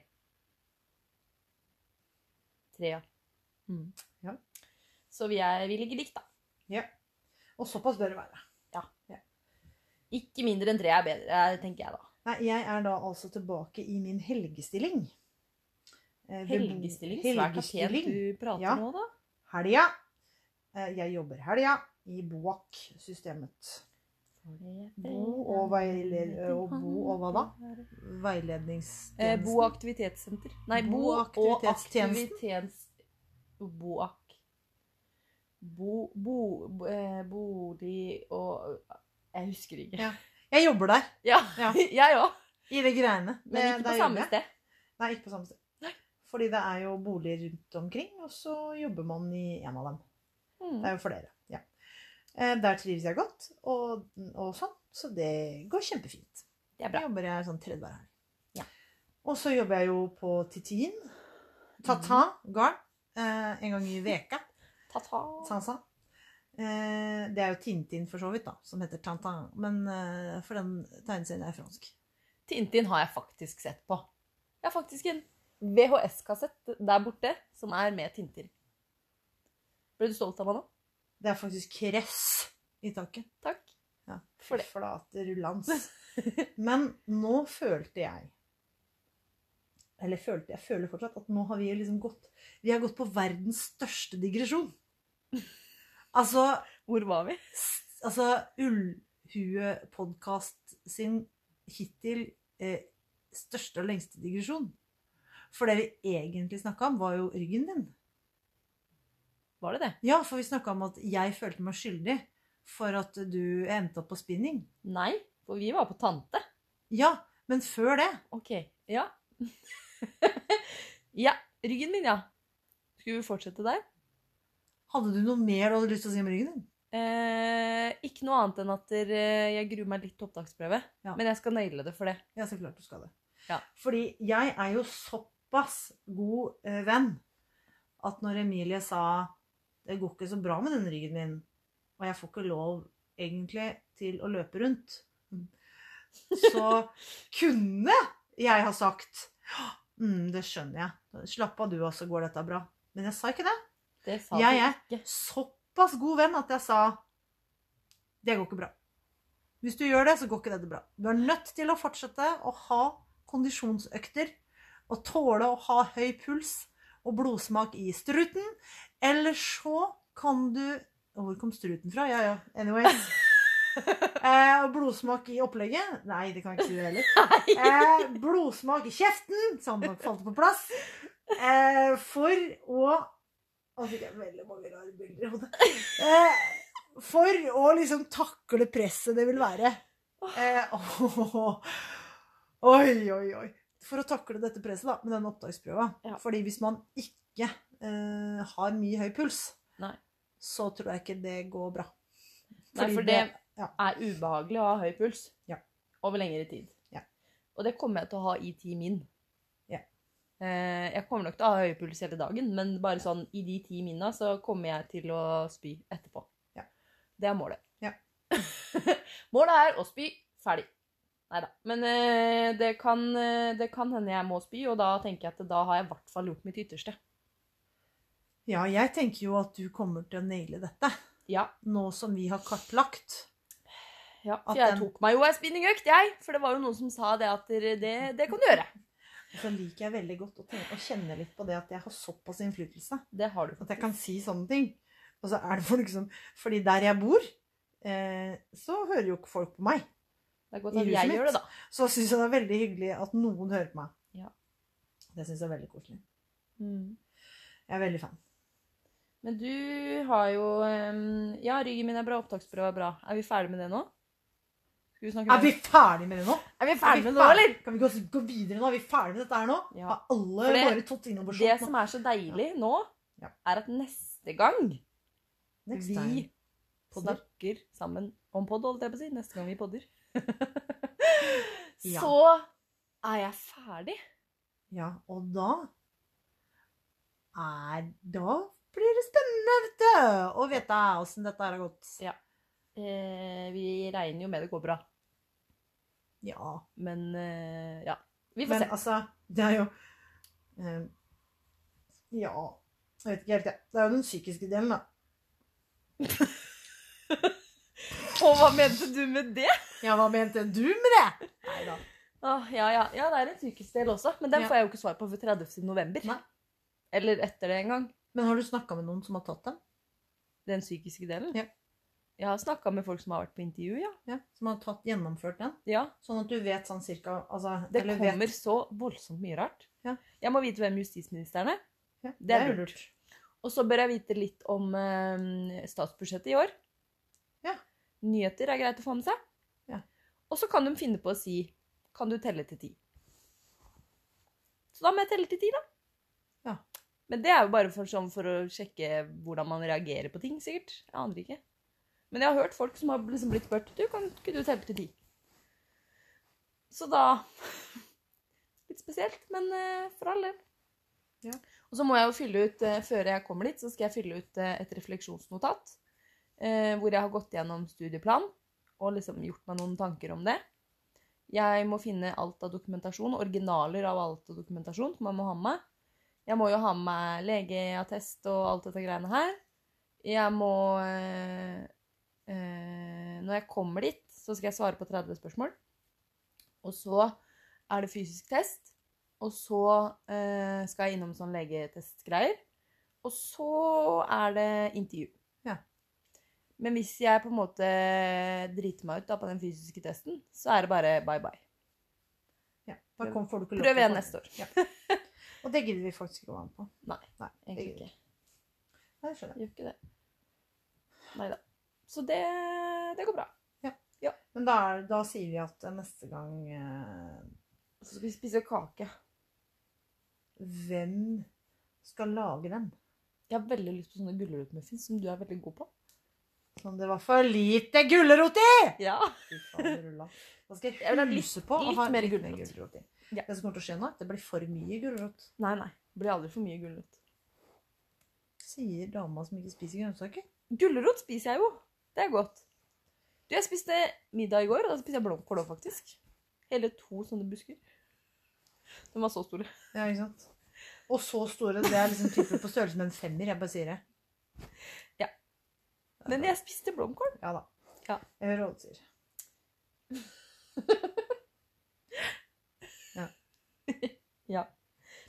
Speaker 2: Tre, ja. Mm.
Speaker 1: Ja.
Speaker 2: Så vi, er, vi ligger likt, da.
Speaker 1: Og såpass bør det være.
Speaker 2: Ikke mindre enn tre er bedre, tenker jeg da.
Speaker 1: Nei, jeg er da altså tilbake i min helgestilling. Eh, ved bo-
Speaker 2: Helgestilling. Svært så pent
Speaker 1: helgestilling.
Speaker 2: du prater
Speaker 1: Ja.
Speaker 2: nå, da.
Speaker 1: Helga. Eh, Jeg jobber helga i BOAK-systemet. Bo og veiler- og bo og hva da?
Speaker 2: Eh,
Speaker 1: Veiledningstjenesten.
Speaker 2: bo- og aktivitetssenter. Nei, bo-
Speaker 1: Bo- og
Speaker 2: og
Speaker 1: aktivitetstjenesten.
Speaker 2: aktivitets... Boak. Bo... bo, bo eh, bolig og Jeg husker ikke. [LAUGHS]
Speaker 1: Ja. Jeg jobber der,
Speaker 2: Ja,
Speaker 1: Ja.
Speaker 2: [LAUGHS] jeg òg.
Speaker 1: i de greiene.
Speaker 2: Men
Speaker 1: Eh,
Speaker 2: ikke
Speaker 1: der
Speaker 2: på samme
Speaker 1: jobber jeg.
Speaker 2: sted.
Speaker 1: Nei, ikke på samme sted.
Speaker 2: Nei.
Speaker 1: Fordi det er jo boliger rundt omkring, og så jobber man i en av dem. Det
Speaker 2: Mm.
Speaker 1: er jo flere. Ja. Eh, Der trives jeg godt, og, og sånn. Så det går kjempefint.
Speaker 2: Det er
Speaker 1: Da
Speaker 2: bra.
Speaker 1: jobber jeg sånn tredje hver helg.
Speaker 2: Ja.
Speaker 1: Og så jobber jeg jo på Titin. Tata
Speaker 2: Mhm.
Speaker 1: garn. Eh, en gang i veka.
Speaker 2: Ta-ta.
Speaker 1: Sansa. Eh, det er jo Tintin for så vidt, da, som heter Tantan. Men eh, for den tegneserien er fransk.
Speaker 2: Tintin har jeg faktisk sett på. Jeg har faktisk en VHS-kassett der borte som er med Tintin. Ble du stolt av meg nå?
Speaker 1: Det er faktisk kress i taket.
Speaker 2: Takk.
Speaker 1: Ja.
Speaker 2: For det.
Speaker 1: Flate
Speaker 2: [LAUGHS]
Speaker 1: rullans. Men nå følte jeg Eller følte, jeg føler fortsatt at nå har vi liksom gått Vi har gått på verdens største
Speaker 2: [LAUGHS]
Speaker 1: digresjon. Altså
Speaker 2: Hvor var vi?
Speaker 1: s- altså, Ullhue-podkast sin hittil eh, største og lengste digresjon. For det vi egentlig snakka om, var jo ryggen din.
Speaker 2: Var det det?
Speaker 1: Ja, for vi snakka om at jeg følte meg skyldig for at du endte opp på spinning.
Speaker 2: Nei, for vi var på tante.
Speaker 1: Ja, men før det
Speaker 2: Ok, ja. [LAUGHS] ja, ryggen min, ja. Skulle vi fortsette der?
Speaker 1: Hadde du noe mer du hadde lyst til å si om ryggen din?
Speaker 2: Eh, ikke noe annet enn at der, eh, jeg gruer meg litt til opptaksprøve.
Speaker 1: Ja.
Speaker 2: Men jeg skal naile det for det.
Speaker 1: Ja, så klart du skal det.
Speaker 2: Ja.
Speaker 1: Fordi jeg er jo såpass god eh, venn at når Emilie sa det går ikke så bra med den ryggen min, og jeg får ikke lov egentlig til å løpe rundt, så kunne jeg ha sagt mm, det skjønner jeg. Slapp av du, og så går dette bra. Men jeg sa ikke det.
Speaker 2: Det sa
Speaker 1: Jeg
Speaker 2: du
Speaker 1: er
Speaker 2: ikke.
Speaker 1: Såpass god venn at jeg sa det går ikke bra. Hvis du gjør det, så går ikke dette bra. Du er nødt til å fortsette å ha kondisjonsøkter og tåle å ha høy puls og blodsmak i struten. Eller så kan du Hvor kom struten fra? Ja, ja.
Speaker 2: [LAUGHS]
Speaker 1: Anyways. Eh, og blodsmak i opplegget? Nei, det kan jeg ikke si det heller. Eh, blodsmak i kjeften, som nok falt på plass. Eh, for å Nå fikk jeg veldig mange rare bilder i hodet. Eh, for å liksom takle presset det vil være. Eh, Oi, oi, oi. For å takle dette presset da, med den opptaksprøva.
Speaker 2: Ja.
Speaker 1: Fordi hvis man ikke eh, har mye høy puls,
Speaker 2: Nei.
Speaker 1: så tror jeg ikke det går bra.
Speaker 2: Nei,
Speaker 1: Fordi
Speaker 2: for det
Speaker 1: ja.
Speaker 2: er ubehagelig å ha høy puls
Speaker 1: Ja.
Speaker 2: over lengre tid.
Speaker 1: Ja.
Speaker 2: Og det kommer jeg til å ha i ti min.
Speaker 1: Ja.
Speaker 2: Eh, jeg kommer nok til å ha høy puls hele dagen, men bare sånn i de ti minna så kommer jeg til å spy etterpå.
Speaker 1: Ja.
Speaker 2: Det er målet.
Speaker 1: Ja.
Speaker 2: [LAUGHS] målet er å spy ferdig. Nei da. Men eh, det, kan, eh, det kan hende jeg må spy, og da tenker jeg at da har jeg i hvert fall gjort mitt ytterste.
Speaker 1: Ja, jeg tenker jo at du kommer til å naile dette.
Speaker 2: Ja.
Speaker 1: Nå som vi har kartlagt.
Speaker 2: ja.
Speaker 1: At
Speaker 2: For jeg
Speaker 1: den-
Speaker 2: tok meg jo ei spinningøkt, jeg. For det var jo noen som sa det at dere- det, det kan du gjøre.
Speaker 1: Og så liker jeg veldig godt å, tenke, å kjenne litt på det at jeg har såpass innflytelse.
Speaker 2: Det har du.
Speaker 1: At jeg kan si sånne ting. Og så er det folk som Fordi der jeg bor, eh, så hører jo ikke folk på meg.
Speaker 2: Det er
Speaker 1: I
Speaker 2: godt at
Speaker 1: huset
Speaker 2: jeg
Speaker 1: mitt.
Speaker 2: gjør det, da.
Speaker 1: Så syns jeg det er veldig hyggelig at noen hører på meg.
Speaker 2: Ja.
Speaker 1: Det syns jeg er veldig koselig. Jeg er veldig fan.
Speaker 2: Mm. Men du har jo ehm, Ja, ryggen min er bra, opptaksprøve er bra. Er vi ferdig med det nå? Skal vi snakke
Speaker 1: Er vi ferdig med det nå?
Speaker 2: er vi
Speaker 1: Er vi
Speaker 2: ferdig med det nå,
Speaker 1: ferdig?
Speaker 2: eller?
Speaker 1: Kan vi gå, gå videre nå? Er vi ferdig med dette her nå?
Speaker 2: Ja.
Speaker 1: Har alle
Speaker 2: For det-
Speaker 1: bare tatt innover
Speaker 2: Det som er så deilig nå,
Speaker 1: Ja.
Speaker 2: er at neste gang vi
Speaker 1: Vi podder.
Speaker 2: snakker sammen om podd, holdt jeg på å si, neste gang vi podder,
Speaker 1: Ja.
Speaker 2: [LAUGHS] så er jeg ferdig.
Speaker 1: Ja, og da er Da blir det spennende, vet du! Å vite åssen dette her har gått.
Speaker 2: Ja. Eh, vi regner jo med det går bra,
Speaker 1: Ja.
Speaker 2: men eh, ja. Vi får
Speaker 1: Men
Speaker 2: se.
Speaker 1: altså, det er jo eh, Ja Jeg vet ikke helt, jeg. Det er jo den psykiske delen, da.
Speaker 2: Og hva mente du med det?
Speaker 1: Ja, hva mente du med det? Neida.
Speaker 2: Åh, Ah, ja, ja. ja, det er en psykisk del også, men den
Speaker 1: Ja.
Speaker 2: får jeg jo ikke svar på før 30. november.
Speaker 1: Nei.
Speaker 2: Eller etter det en gang.
Speaker 1: Men har du snakka med noen som har tatt den?
Speaker 2: Den psykiske delen.
Speaker 1: Ja.
Speaker 2: Jeg har snakka med folk som har vært på intervju, ja.
Speaker 1: Ja, Som har tatt, gjennomført den?
Speaker 2: ja
Speaker 1: Sånn at du vet sånn cirka altså,
Speaker 2: det
Speaker 1: eller vet-
Speaker 2: kommer så voldsomt mye rart.
Speaker 1: Ja.
Speaker 2: Jeg må vite hvem justisministeren er.
Speaker 1: Ja,
Speaker 2: Det er lurt. Og så bør jeg vite litt om eh, statsbudsjettet i år.
Speaker 1: Ja.
Speaker 2: Nyheter er greit å få med seg.
Speaker 1: Ja.
Speaker 2: Og så kan de finne på å si Kan du telle til ti? Så da må jeg telle til ti, da.
Speaker 1: Ja.
Speaker 2: Men det er jo bare for, sånn, for å sjekke hvordan man reagerer på ting, sikkert. Jeg aner ikke. Men jeg har hørt folk som har liksom blitt spurt Du, kan ikke du telle til ti? Så da [LAUGHS] Litt spesielt, men eh, for all del. Og så må jeg jo fylle ut, eh, før jeg kommer dit, så skal jeg fylle ut eh, et refleksjonsnotat. Eh, hvor jeg har gått gjennom studieplan og liksom gjort meg noen tanker om det. Jeg må finne alt av dokumentasjon, originaler av alt av dokumentasjon som jeg må ha med. Jeg må jo ha med meg legeattest og alt dette greiene her. Jeg må eh, eh, Når jeg kommer dit, så skal jeg svare på 30 spørsmål. Og så er det fysisk test. Og så eh, skal jeg innom sånn legetestgreier. Og så er det intervju.
Speaker 1: Ja.
Speaker 2: Men hvis jeg på en måte driter meg ut da på den fysiske testen, så er det bare bye bye.
Speaker 1: Ja, da kom, får du ikke lov til
Speaker 2: Prøv
Speaker 1: å
Speaker 2: igjen
Speaker 1: komme.
Speaker 2: neste år.
Speaker 1: Og det gidder vi faktisk ikke å være med på.
Speaker 2: [LAUGHS] Egentlig ikke.
Speaker 1: Nei, det skjønner jeg.
Speaker 2: Gjør ikke det. Nei da. Så det, det går bra.
Speaker 1: Men da, er, da sier vi at eh, neste gang eh,
Speaker 2: Så skal vi spise kake.
Speaker 1: Hvem skal lage den?
Speaker 2: Jeg har veldig lyst på sånne gulrotmuffins som du er veldig god på.
Speaker 1: Sånn det var for lite gulrot i!
Speaker 2: Ja.
Speaker 1: Fy faen, rulla. Da skal
Speaker 2: Jeg vil ha
Speaker 1: jeg huse på å
Speaker 2: litt
Speaker 1: ha
Speaker 2: mer
Speaker 1: litt mer
Speaker 2: gulrot.
Speaker 1: gulrot i.
Speaker 2: Ja.
Speaker 1: Det som kommer til å skje nå, er at det blir for mye gulrot.
Speaker 2: Nei, nei. Det blir aldri for mye gulrot.
Speaker 1: Sier dama som ikke spiser grønnsaker.
Speaker 2: Gulrot spiser jeg jo. Det er godt. Du, jeg spiste middag i går, og da spiste jeg blomkål òg, faktisk. Hele to sånne busker. De var så store.
Speaker 1: Ja, ikke sant? Og så store. Det er liksom typer på størrelse med en femmer. Jeg bare sier det.
Speaker 2: Ja. Men jeg spiste blomkål.
Speaker 1: Ja da.
Speaker 2: Ja.
Speaker 1: Jeg hører hva du sier.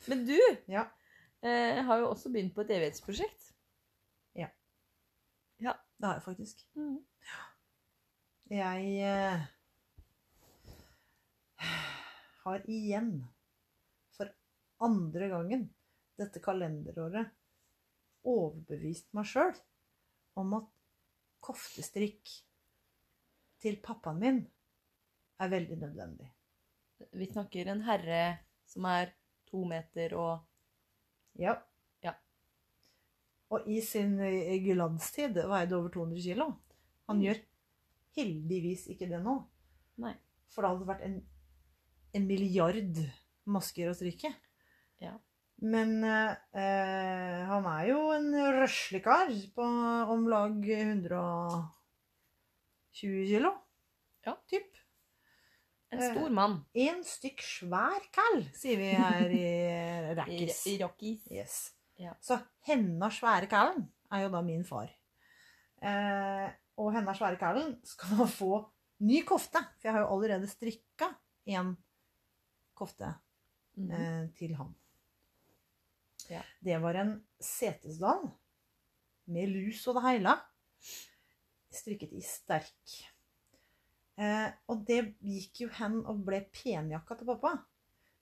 Speaker 2: Men du
Speaker 1: Ja.
Speaker 2: eh, har jo også begynt på et evighetsprosjekt.
Speaker 1: Det har jeg faktisk. Jeg eh, har igjen, for andre gangen dette kalenderåret, overbevist meg sjøl om at koftestrikk til pappaen min er veldig nødvendig.
Speaker 2: Vi snakker en herre som er to meter og
Speaker 1: Ja.
Speaker 2: Ja.
Speaker 1: Og i sin eh, glanstid veide over 200 kilo. Han
Speaker 2: Mm.
Speaker 1: gjør heldigvis ikke det nå.
Speaker 2: Nei.
Speaker 1: For det hadde vært en, en milliard masker å stryke.
Speaker 2: Ja.
Speaker 1: Men eh, eh, han er jo en røslig kar på om lag 120 kilo.
Speaker 2: Ja.
Speaker 1: Typ.
Speaker 2: En stor mann.
Speaker 1: En stykk svær kall, sier vi her i
Speaker 2: [LAUGHS] I,
Speaker 1: Rakkis.
Speaker 2: i Rocky.
Speaker 1: Yes.
Speaker 2: Ja.
Speaker 1: Så henna svære kallen er jo da min far. Eh, og henna svære kallen skal da få ny kofte, for jeg har jo allerede strikka én kofte
Speaker 2: Mhm.
Speaker 1: eh, til han.
Speaker 2: Ja.
Speaker 1: Det var en Setesdal med lus og det heila, strikket i sterk. Eh, og det gikk jo hen og ble penjakka til pappa.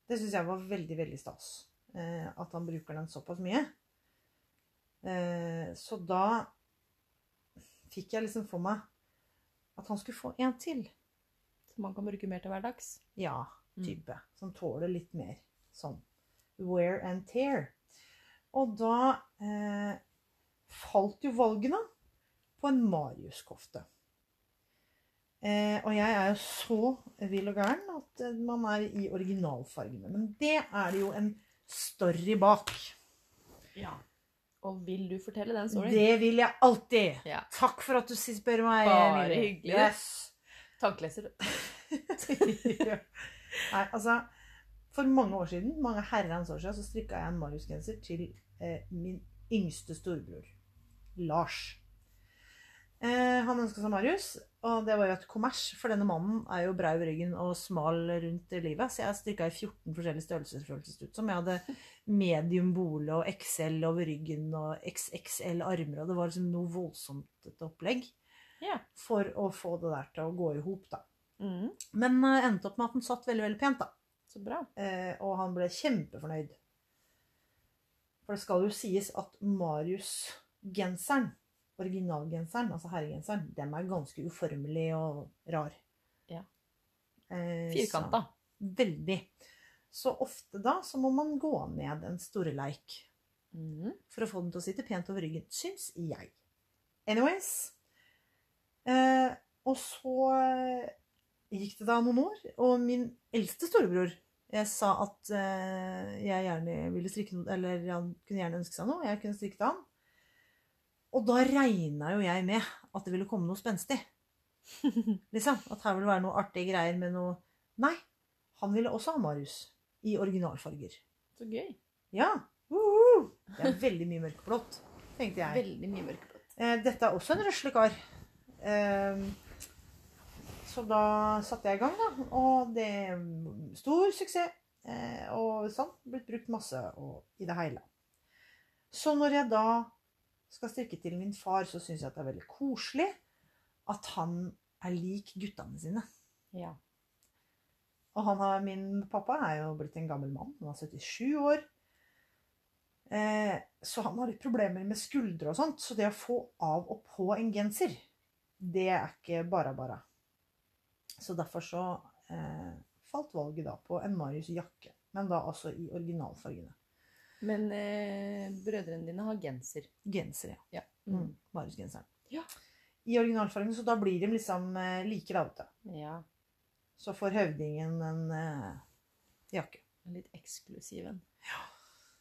Speaker 1: Det syns jeg var veldig, veldig stas. Eh, at han bruker den såpass mye. Eh, så da fikk jeg liksom for meg at han skulle få en til.
Speaker 2: Så man kan bruke mer til hverdags.
Speaker 1: Ja,
Speaker 2: Mm.
Speaker 1: type. Som tåler litt mer sånn wear and tear. Og da eh, falt jo valgene på en Marius-kofte. Eh, og jeg er jo så vill og gæren at eh, man er i originalfargene. Men det er det jo en story bak.
Speaker 2: Ja. Og vil du fortelle den storyen?
Speaker 1: Det vil jeg alltid.
Speaker 2: Ja.
Speaker 1: Takk for at du spør meg.
Speaker 2: Bare
Speaker 1: Emilie.
Speaker 2: hyggelig.
Speaker 1: Yes.
Speaker 2: Tankleser.
Speaker 1: [LAUGHS] Ja. Nei, altså For mange år siden, mange herrens år siden, så strikka jeg en Marius-genser til eh, min yngste storebror, Lars. Eh, han ønska seg Marius, og det var jo et kommers, for denne mannen er jo brei i ryggen og smal rundt livet, så jeg strikka i 14 forskjellige størrelser, føltes det ut som. Jeg hadde medium bole og XL over ryggen og XXL armer, og det var liksom noe voldsomt et opplegg
Speaker 2: Ja.
Speaker 1: for å få det der til å gå i hop, da.
Speaker 2: Mhm.
Speaker 1: Men eh, endte opp med at den satt veldig veldig pent, da.
Speaker 2: Så bra.
Speaker 1: Eh, og han ble kjempefornøyd. For det skal jo sies at Marius-genseren, originalgenseren, altså herregenseren, den er ganske uformelig og rar.
Speaker 2: Ja.
Speaker 1: Eh, så-
Speaker 2: Firkanta.
Speaker 1: Veldig. Så ofte da så må man gå ned en storeleik
Speaker 2: Mhm.
Speaker 1: for å få den til å sitte pent over ryggen, syns jeg. Anyways. Eh, og så eh, gikk det da noen år, og min eldste storebror jeg sa at eh, jeg gjerne ville strikke noe, eller han kunne gjerne ønske seg noe, og jeg kunne strikke til han. Og da regna jo jeg med at det ville komme noe spenstig. Liksom, At her ville være noe artige greier med noe Nei, han ville også ha Marius i originalfarger.
Speaker 2: Så gøy.
Speaker 1: Ja. uhu. Det er veldig mye mørkeblått, tenkte jeg.
Speaker 2: Veldig mye mørkeblått.
Speaker 1: Eh, Dette er også en røslekar. Så da satte jeg i gang, da. Og det er stor suksess. eh, Og sånn. Blitt brukt masse og i det hele. Så når jeg da skal strikke til min far, så syns jeg at det er veldig koselig at han er lik guttene sine.
Speaker 2: Ja.
Speaker 1: Og han har, min pappa er jo blitt en gammel mann. Han er 77 år. Eh, så han har litt problemer med skuldre og sånt. Så det å få av og på en genser, det er ikke bare bare. Så derfor så eh, falt valget da på en Marius jakke. Men da altså i originalfargene.
Speaker 2: Men eh, brødrene dine har genser.
Speaker 1: Genser, ja.
Speaker 2: Ja.
Speaker 1: Mm. Marius-genseren.
Speaker 2: Ja.
Speaker 1: I originalfargene, så da blir de liksom eh, like da, vet du.
Speaker 2: Ja.
Speaker 1: Så får høvdingen en eh, jakke.
Speaker 2: En Litt eksklusiv en.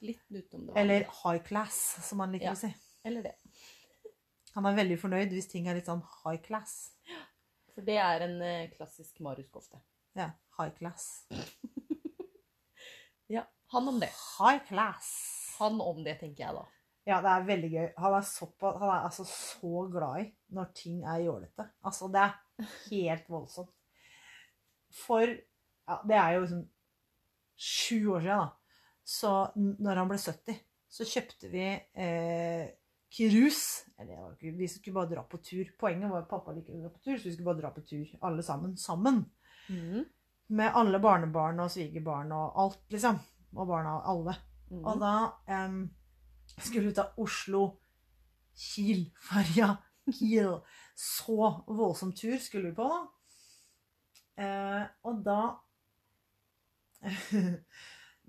Speaker 2: Litt utenom det
Speaker 1: Eller
Speaker 2: vanlige.
Speaker 1: high class, som han liker
Speaker 2: Ja.
Speaker 1: å si.
Speaker 2: Eller det.
Speaker 1: Han er veldig fornøyd hvis ting er litt sånn high class.
Speaker 2: For det er en eh, klassisk Marius-kofte.
Speaker 1: Ja, high class.
Speaker 2: Ja. Han om Sånn det.
Speaker 1: High class.
Speaker 2: Han om det, tenker jeg da.
Speaker 1: Ja, det er veldig gøy. Han er, såpass, han er altså så glad i når ting er jålete. Altså, det er helt voldsomt. For ja, det er jo liksom sju år siden, da. Så n- når han ble 70, så kjøpte vi eh, krus. Eller det var jo ikke, vi skulle bare dra på tur. Poenget var at pappa likte å dra på tur, så vi skulle bare dra på tur alle sammen. Sammen. Mm.
Speaker 2: Mhm.
Speaker 1: med alle barnebarn og svigerbarn og alt, liksom. Og barna og alle.
Speaker 2: Mhm.
Speaker 1: Og da em, skulle vi ta Oslo-Kiel-ferja. Kiel. Så voldsom tur skulle vi på, da. Eh, og da [LAUGHS]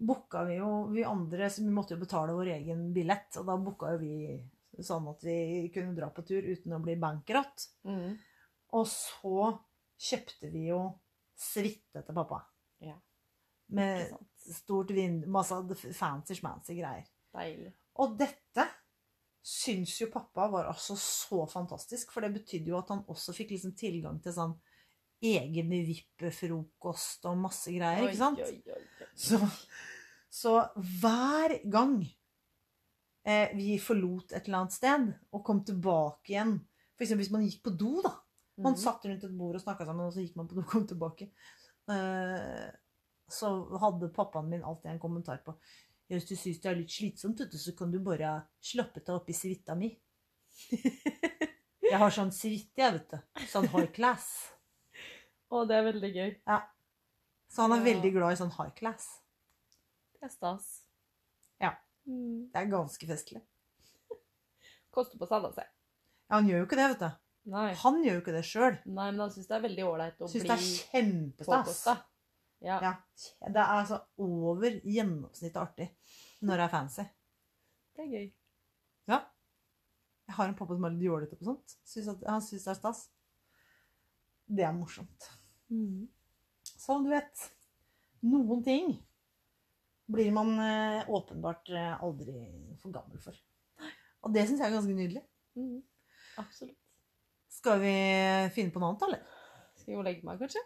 Speaker 1: booka vi jo Vi andre så vi måtte jo betale vår egen billett, og da booka jo vi sånn at vi kunne dra på tur uten å bli bankerott.
Speaker 2: Mhm.
Speaker 1: Og så kjøpte vi jo suite til pappa.
Speaker 2: Ja. Ikke
Speaker 1: Med
Speaker 2: sant.
Speaker 1: stort vind, masse fancy schmancy greier.
Speaker 2: Deilig.
Speaker 1: Og dette syns jo pappa var altså så fantastisk, for det betydde jo at han også fikk liksom tilgang til sånn egen vippefrokost og masse greier, ikke sant?
Speaker 2: Oi, oi, oi.
Speaker 1: Så, så hver gang eh, vi forlot et eller annet sted og kom tilbake igjen For eksempel hvis man gikk på do, da. Man
Speaker 2: Mhm.
Speaker 1: satt rundt et bord og snakka sammen, og så gikk man på do og kom tilbake. Eh, så hadde pappaen min alltid en kommentar på «Ja, Hvis du syns det er litt slitsomt, vet du, så kan du bare slappe av oppi suita mi. [LAUGHS] Jeg har sånn suite, jeg, vet du. Sånn high class.
Speaker 2: Mm. Å, det er veldig gøy.
Speaker 1: Så han er
Speaker 2: Ja.
Speaker 1: veldig glad i sånn high class.
Speaker 2: Det er stas.
Speaker 1: Ja.
Speaker 2: Mm.
Speaker 1: Det er ganske festlig.
Speaker 2: Koster på seg, da, se.
Speaker 1: Ja, han gjør jo ikke det, vet du.
Speaker 2: Nei.
Speaker 1: Han gjør jo ikke det sjøl.
Speaker 2: Nei, men han syns det er veldig ålreit å
Speaker 1: Syns det
Speaker 2: bli
Speaker 1: er kjempestas.
Speaker 2: påkosta. Ja.
Speaker 1: Ja. Det er altså over gjennomsnittet artig når det er fancy.
Speaker 2: det er gøy.
Speaker 1: Jeg har en pappa som er litt jålete på sånt. Syns at, han syns det er stas. Det er morsomt.
Speaker 2: Mm.
Speaker 1: Som du vet, noen ting blir man eh, åpenbart eh, aldri for gammel for. Og det syns jeg er ganske nydelig.
Speaker 2: Mm. Absolutt.
Speaker 1: Skal vi finne på noe annet, eller?
Speaker 2: Skal jeg gå og legge meg, kanskje?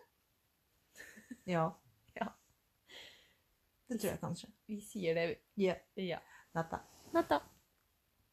Speaker 1: Ja.
Speaker 2: Ja.
Speaker 1: Det tror jeg kanskje.
Speaker 2: Vi sier det,
Speaker 1: Ja.
Speaker 2: vi. Ja.
Speaker 1: Dette.
Speaker 2: Natta.